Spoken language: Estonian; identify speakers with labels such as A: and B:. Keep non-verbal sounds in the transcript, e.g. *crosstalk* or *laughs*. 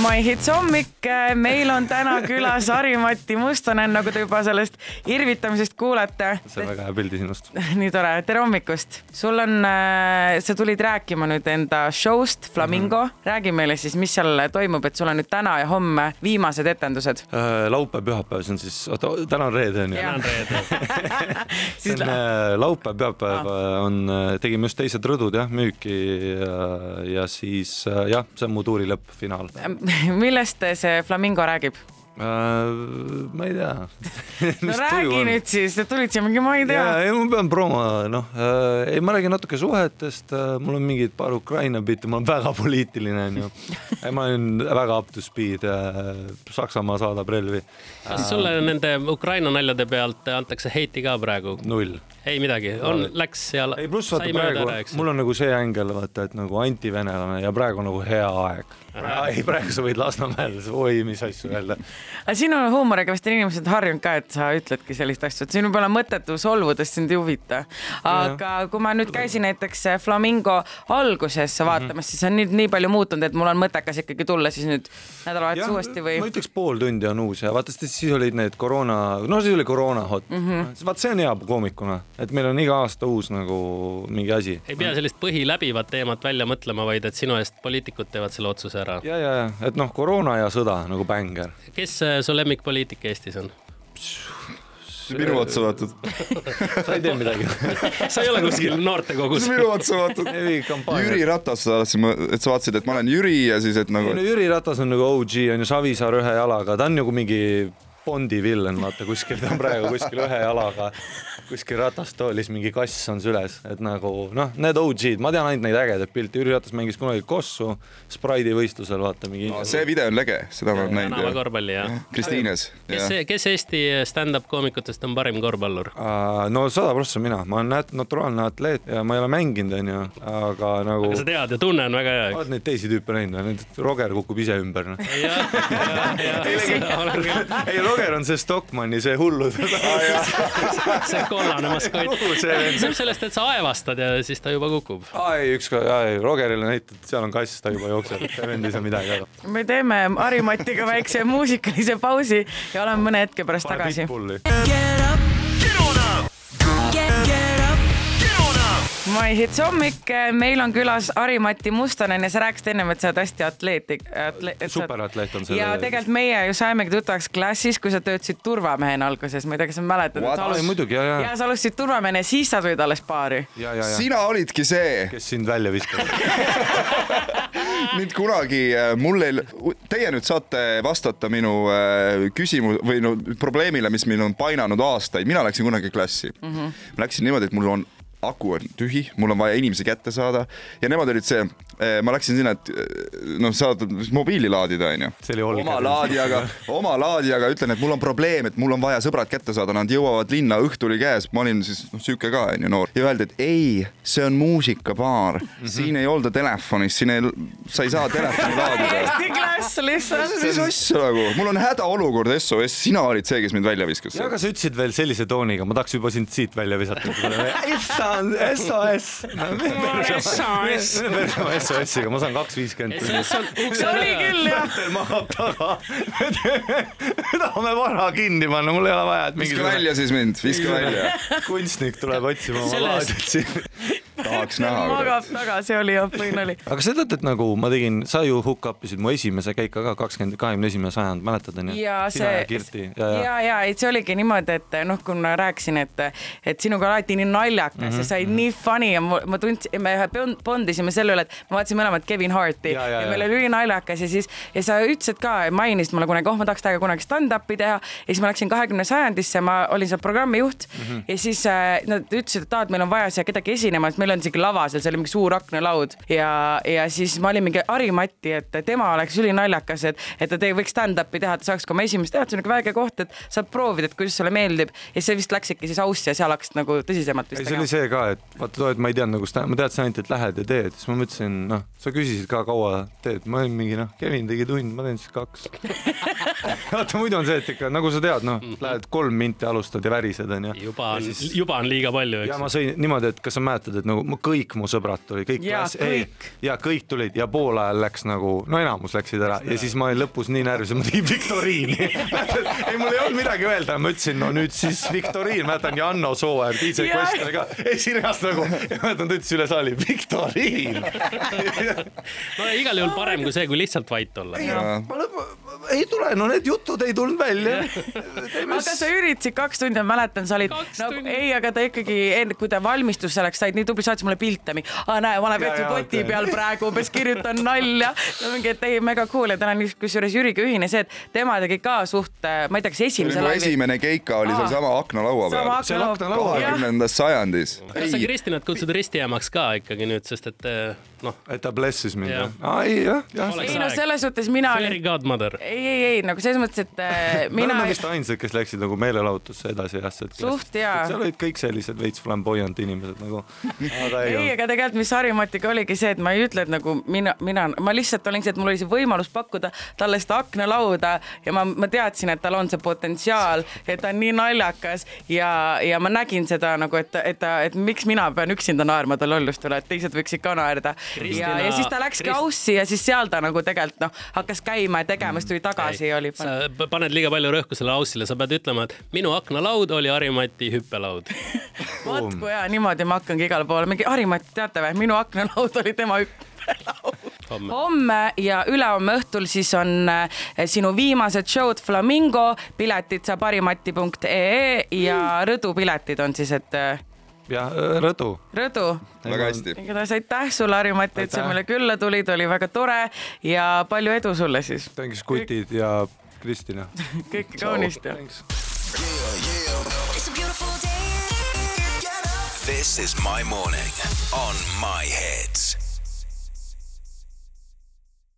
A: My Hits hommik , meil on täna külas Harri-Mati Mustonen , nagu te juba sellest irvitamisest kuulete .
B: see on väga hea pildi sinust .
A: nii tore , tere hommikust . sul on , sa tulid rääkima nüüd enda show'st Flamingo mm , -hmm. räägi meile siis , mis seal toimub , et sul on nüüd täna ja homme viimased etendused .
B: Äh, laupäev , pühapäev , see on siis , oota , täna on reede on ju ?
A: Jaa.
C: tänan , Reede .
B: see on äh, laupäev , pühapäev
A: Ah.
B: äh, on , tegime just teised rõdud jah , müüki ja, ja siis äh, jah , see on mu tuuri lõpp , finaal .
A: *laughs* Äh. millest see Flamingo räägib ?
B: Äh, ma ei tea .
A: *laughs* no räägi nüüd siis , sa tulid siia mingi , ma ei tea .
B: ei , ma pean promo , noh , ei , ma räägin natuke suhetest , mul on mingid paar Ukraina bitti , ma olen väga poliitiline ,
A: *laughs*
B: onju . ei , ma olen väga up to speed , Saksamaa saadab relvi ,
C: kas sulle nende Ukraina naljade pealt antakse heiti ka praegu ?
B: null
C: ei midagi , on , läks ja
B: ei , pluss vaata praegu , mul on nagu see ängel , vaata , et nagu antivenelane ja praegu on nagu hea aeg . *laughs* ei , praegu sa võid Lasnamäel , oi , mis asju öelda .
A: aga sinu huumoriga vist on inimesed harjunud ka , et sa ütledki sellist asja , et sinu peale on mõttetu solvuda , sest sind ei huvita . aga kui ma nüüd käisin näiteks äh, Flamingo alguses vaatamas mm , -hmm. siis on nüüd nii palju muutunud , et mul on mõttekas ikkagi tulla siis nüüd nädalavahetus uuesti või
B: ma ? ütleks pool tundi on uus ja vaata , sest siis olid need koroona , no siis oli koroona hot mm . -hmm. vaat see on hea koomikuna , et meil on iga aasta uus nagu mingi asi .
C: ei pea sellist põhiläbivat teemat välja mõtlema , vaid et sinu eest poliitikud teevad selle otsuse ära .
B: ja , ja , ja , et noh , koroona ja sõda nagu bänger .
C: kes äh, su lemmikpoliitik Eestis on ?
D: minu otsa *laughs* vaatad ,
B: sa
C: *laughs*
B: ei tee midagi .
C: sa ei ole kuskil noortekogus
D: mis ? minu otsa
B: *laughs*
D: vaatad ?
B: ei , kampaania .
D: Jüri Ratas , sa tahtsid , et sa vaatasid , et ma olen Jüri ja siis , et nagu
B: ei no Jüri Ratas on nagu OG on ju , Savisaar ühe jalaga , ta on nagu mingi Bondi villan , vaata kuskil ta on praegu kuskil ühe jalaga , kuskil ratastoolis mingi kass on süles , et nagu noh , need OG-d , ma tean ainult neid ägedaid pilte , Jüri Ratas mängis kunagi Kossu Spraidi võistlusel , vaata mingi
D: no, . see video on läge , seda ma olen näinud .
C: tänavakorvpalli ja .
D: Kristiines ,
C: kes
D: jah .
C: see , kes Eesti stand-up koomikutest on parim
B: Oh.
C: korvpallur ?
B: no sada prossa mina , ma olen nat- naturaalne atleet ja ma ei ole mänginud , onju , aga nagu
C: sa tead ja tunne on väga hea .
B: oled neid teisi tüüpe näinud või , nüüd Roger kukub ise ümber noh .
C: jah , jah , *laughs* jah , olen küll .
B: ei , Roger on see Stockmanni , see hullu
C: see kollane maskott
B: Kuhu . Oh, see
C: see
B: vend-
C: on sellest , et sa aevastad ja siis ta juba kukub .
B: aa ei , ükskord , ei Rogerile näitad , seal on kass , ta juba jookseb , see vend ei saa midagi aru .
A: me teeme Harri-Matiga väikse muusikalise pausi ja oleme mõne hetke pärast tagasi . My Hits hommik , meil on külas Harri-Mati Mustonen ja sa rääkisid ennem , et sa oled hästi atleetlik atle, .
B: Superatleet on see.
A: ja tegelikult meie ju saimegi tuttavaks klassis , kui sa töötasid turvamehena alguses , ma ei tea , kas sa mäletad , et
D: What?
A: sa
B: ei
A: alustasid
B: muidugi , ja , ja ,
A: ja sa alustasid turvamehena ja siis sa tulid alles baari .
B: ja , ja , ja ,
D: sina olidki see ,
B: kes sind välja viskas .
D: mind kunagi , mul ei , teie nüüd saate vastata minu äh, küsimus või no probleemile , mis mind on painanud aastaid , mina läksin kunagi klassi mm .
B: Mhm.
D: -hmm. ma läksin niimoodi , et mul on aku on tühi , mul on vaja inimesi kätte saada ja nemad olid see , ma läksin sinna , et äh, noh , saad mobiili laadida , onju
B: see oli Olga .
D: oma laadijaga , oma laadijaga ütlen , et mul on probleem , et mul on vaja sõbrad kätte saada , nad jõuavad linna , õht oli käes , ma olin siis noh , sihuke ka onju noor ja öeldi , et ei , see on muusikabaar , siin ei olda telefonis , siin ei , sa ei saa telefoni
A: *laughs*
D: laadida .
A: Eesti klass lihtsalt .
D: mis asja nagu , mul on hädaolukord SOS , sina olid see , kes mind välja viskas .
B: ja , aga sa ütlesid veel sellise tooniga , ma tahaks juba sind siit välja visata . issand , SOS . *laughs*
C: SOS.
B: SOS-iga , ma saan kaks viiskümmend .
C: SOS on ukse
A: see oli
C: taga .
A: küll jah ,
B: magab taga . me tahame vara kinni panna , mul ei ole vaja , et
D: viska välja siis mind , viska välja .
B: kunstnik tuleb otsima oma
C: Sellest-
B: laadijat siin .
D: tahaks näha .
A: magab taga , see oli jah , põin oli .
B: aga sa tead , et nagu ma tegin , sa ju hukkapisid mu esimese käika ka kakskümmend , kahekümne esimene sajand , mäletad onju ?
A: ja
B: sina ja
A: see ,
B: Kirti ja ,
A: ja ,
B: ja,
A: ja, ja , et see oligi niimoodi , et noh , kui ma rääkisin , et , et sinuga on alati nii naljakas mm -hmm.
B: Mhm,
A: ja sa olid nii funny ja ma, ma tundsin , me bond- bondisime selle üle , et me vaatasime mõlemad Kevin Harti ja,
B: Ja,
A: ja,
B: ja,
A: ja
B: ja.
A: meil oli ülinaljakas ja siis ja sa ütlesid ka , mainisid mulle kunagi , oh , ma tahaks teiega kunagi stand-up'i teha ja siis ma läksin kahekümne sajandisse , ma olin seal programmi juht mm
B: Mhm.
A: -hmm. ja siis äh, nad ütlesid , et aa , et meil on vaja siia kedagi esinema , et meil on isegi lava seal , see oli mingi suur aknalaud ja , ja siis ma olin mingi Harri-Mati , et tema oleks ülinaljakas , et , et ta tee- võiks stand-up'i teha , et saaks ka oma esimest teha , et see on niisugune väike koht , et saad proovida , et kuidas sulle meeldib ja see vist läks ikka siis aussi ja seal hakkasid nagu tõsisemalt
B: ei ,
A: vist
B: see
A: tegema .
B: oli see ka , et vaata too , et ma ei teadnud nagu seda , ma teadsin ainult , et lähed ja teed , siis ma mõtlesin , noh , sa küsisid ka kaua teed , ma olin mingi noh , Kevin tegi tund , ma teen siis kaks . vaata muidu on see , et ikka nagu sa tead , noh , lähed kolm minti alustad ja värised onju .
C: juba on , juba on liiga palju ,
B: ja
C: eks .
B: ma sõin niimoodi , et kas sa mäletad , et nagu ma kõik mu sõbrad tulid , kõik
A: Jaa,
B: klass- ei,
A: kõik.
B: ja kõik tulid ja poole ajal läks nagu , no enamus läksid ära ja siis ma olin lõpus nii närvis , et ma
A: *laughs*
B: tegin viktoriini . ei , mul ei olnud midagi öelda , ma ütlesin , no nüüd siis viktoriin , mäletan Janno Sooäär , DJ
A: Jaa.
B: Quester ka esireas nagu , mäletan ta ütles üle saali
A: *laughs*
B: viktoriin .
C: no igal juhul parem kui see , kui lihtsalt vait olla .
B: ma lõpp , ei tule , no need jutud ei tulnud välja .
A: aga sa üritasid kaks tundi , ma mäletan , sa olid
C: Kaks ,
A: nagu,
C: tundi.
A: ei , aga ta ikkagi , enne kui ta valmistus selleks said , nii tubli , saatsid mulle pilte , aa näe , ma olen
B: Jaa, jaa,
A: vetsupoti
B: okei.
A: peal praegu umbes kirjutan nalja . no mingi , et ei , mega cool ja täna on kusjuures Jüriga ühine see , et tema tegi ka suht , ma ei tea , kas
D: see oli
A: esimese
D: mu
A: laivi .
D: esimene keika oli
A: Aa.
D: sealsama aknalaua
A: sama
D: peal ,
B: seal aknalaua
A: jah.
D: kahekümnendas sajandis .
C: kas sa Kristinat kutsud ristijäämaks ka ikkagi nüüd , sest et eh, noh ,
B: et ta blessis mind
C: Jah.
B: või ? aa ei jah , jah .
C: Oleks
A: ei no
C: aeg.
A: selles suhtes mina olin
C: Fairy , Godmother .
A: ei , ei , ei nagu selles mõttes , et äh,
B: mina .
A: mina
B: me oleme vist ainsad , kes läksid nagu meelelahutusse edasi jah , sealt
A: Suht
B: klassist.
A: jaa.
B: seal olid kõik sellised veits flamboyant inimesed nagu , aga ei
A: ei ,
B: olnud .
A: aga tegelikult , mis Harimatiga oligi see , et ma ei ütle , et nagu mina , mina , ma lihtsalt olin see , et mul oli see võimalus pakkuda talle seda aknalauda ja ma , ma teadsin , et tal on see potentsiaal , et ta on nii naljakas ja , ja ma nägin seda nagu , et , et , et miks mina pean üksinda naerma tal lollust üle , et teised võiksid ka naerda . ja ,
C: Kristina-
A: ja siis ta läkski
C: Krist-
A: aussi ja siis seal ta nagu tegelikult noh , hakkas käima ja tegema , siis tuli tagasi ja oli .
C: sa p- paned liiga palju rõhku selle ausile , sa pead ütlema , et minu aknalaud oli Harimati hüppelaud .
A: vot kui hea , niimoodi ma hakkangi igale poole , mingi Harimat , teate või , minu aknalaud oli tema hüppelaud .
C: Homme.
A: homme ja ülehomme õhtul siis on äh, sinu viimased show'd Flamingo , piletid saab harimati.ee ja rõdupiletid on siis , et äh,
B: jah , Rõdu .
A: rõdu .
D: väga hästi .
A: igatahes aitäh sulle , Harimati , et sa
B: Aitäh.
A: meile külla tulid , oli väga tore ja palju edu sulle siis .
B: tänks Kutid ja *laughs* Kristina .
A: kõike kaunist ja .
E: It's a beautiful day. Get up.
F: This is my morning on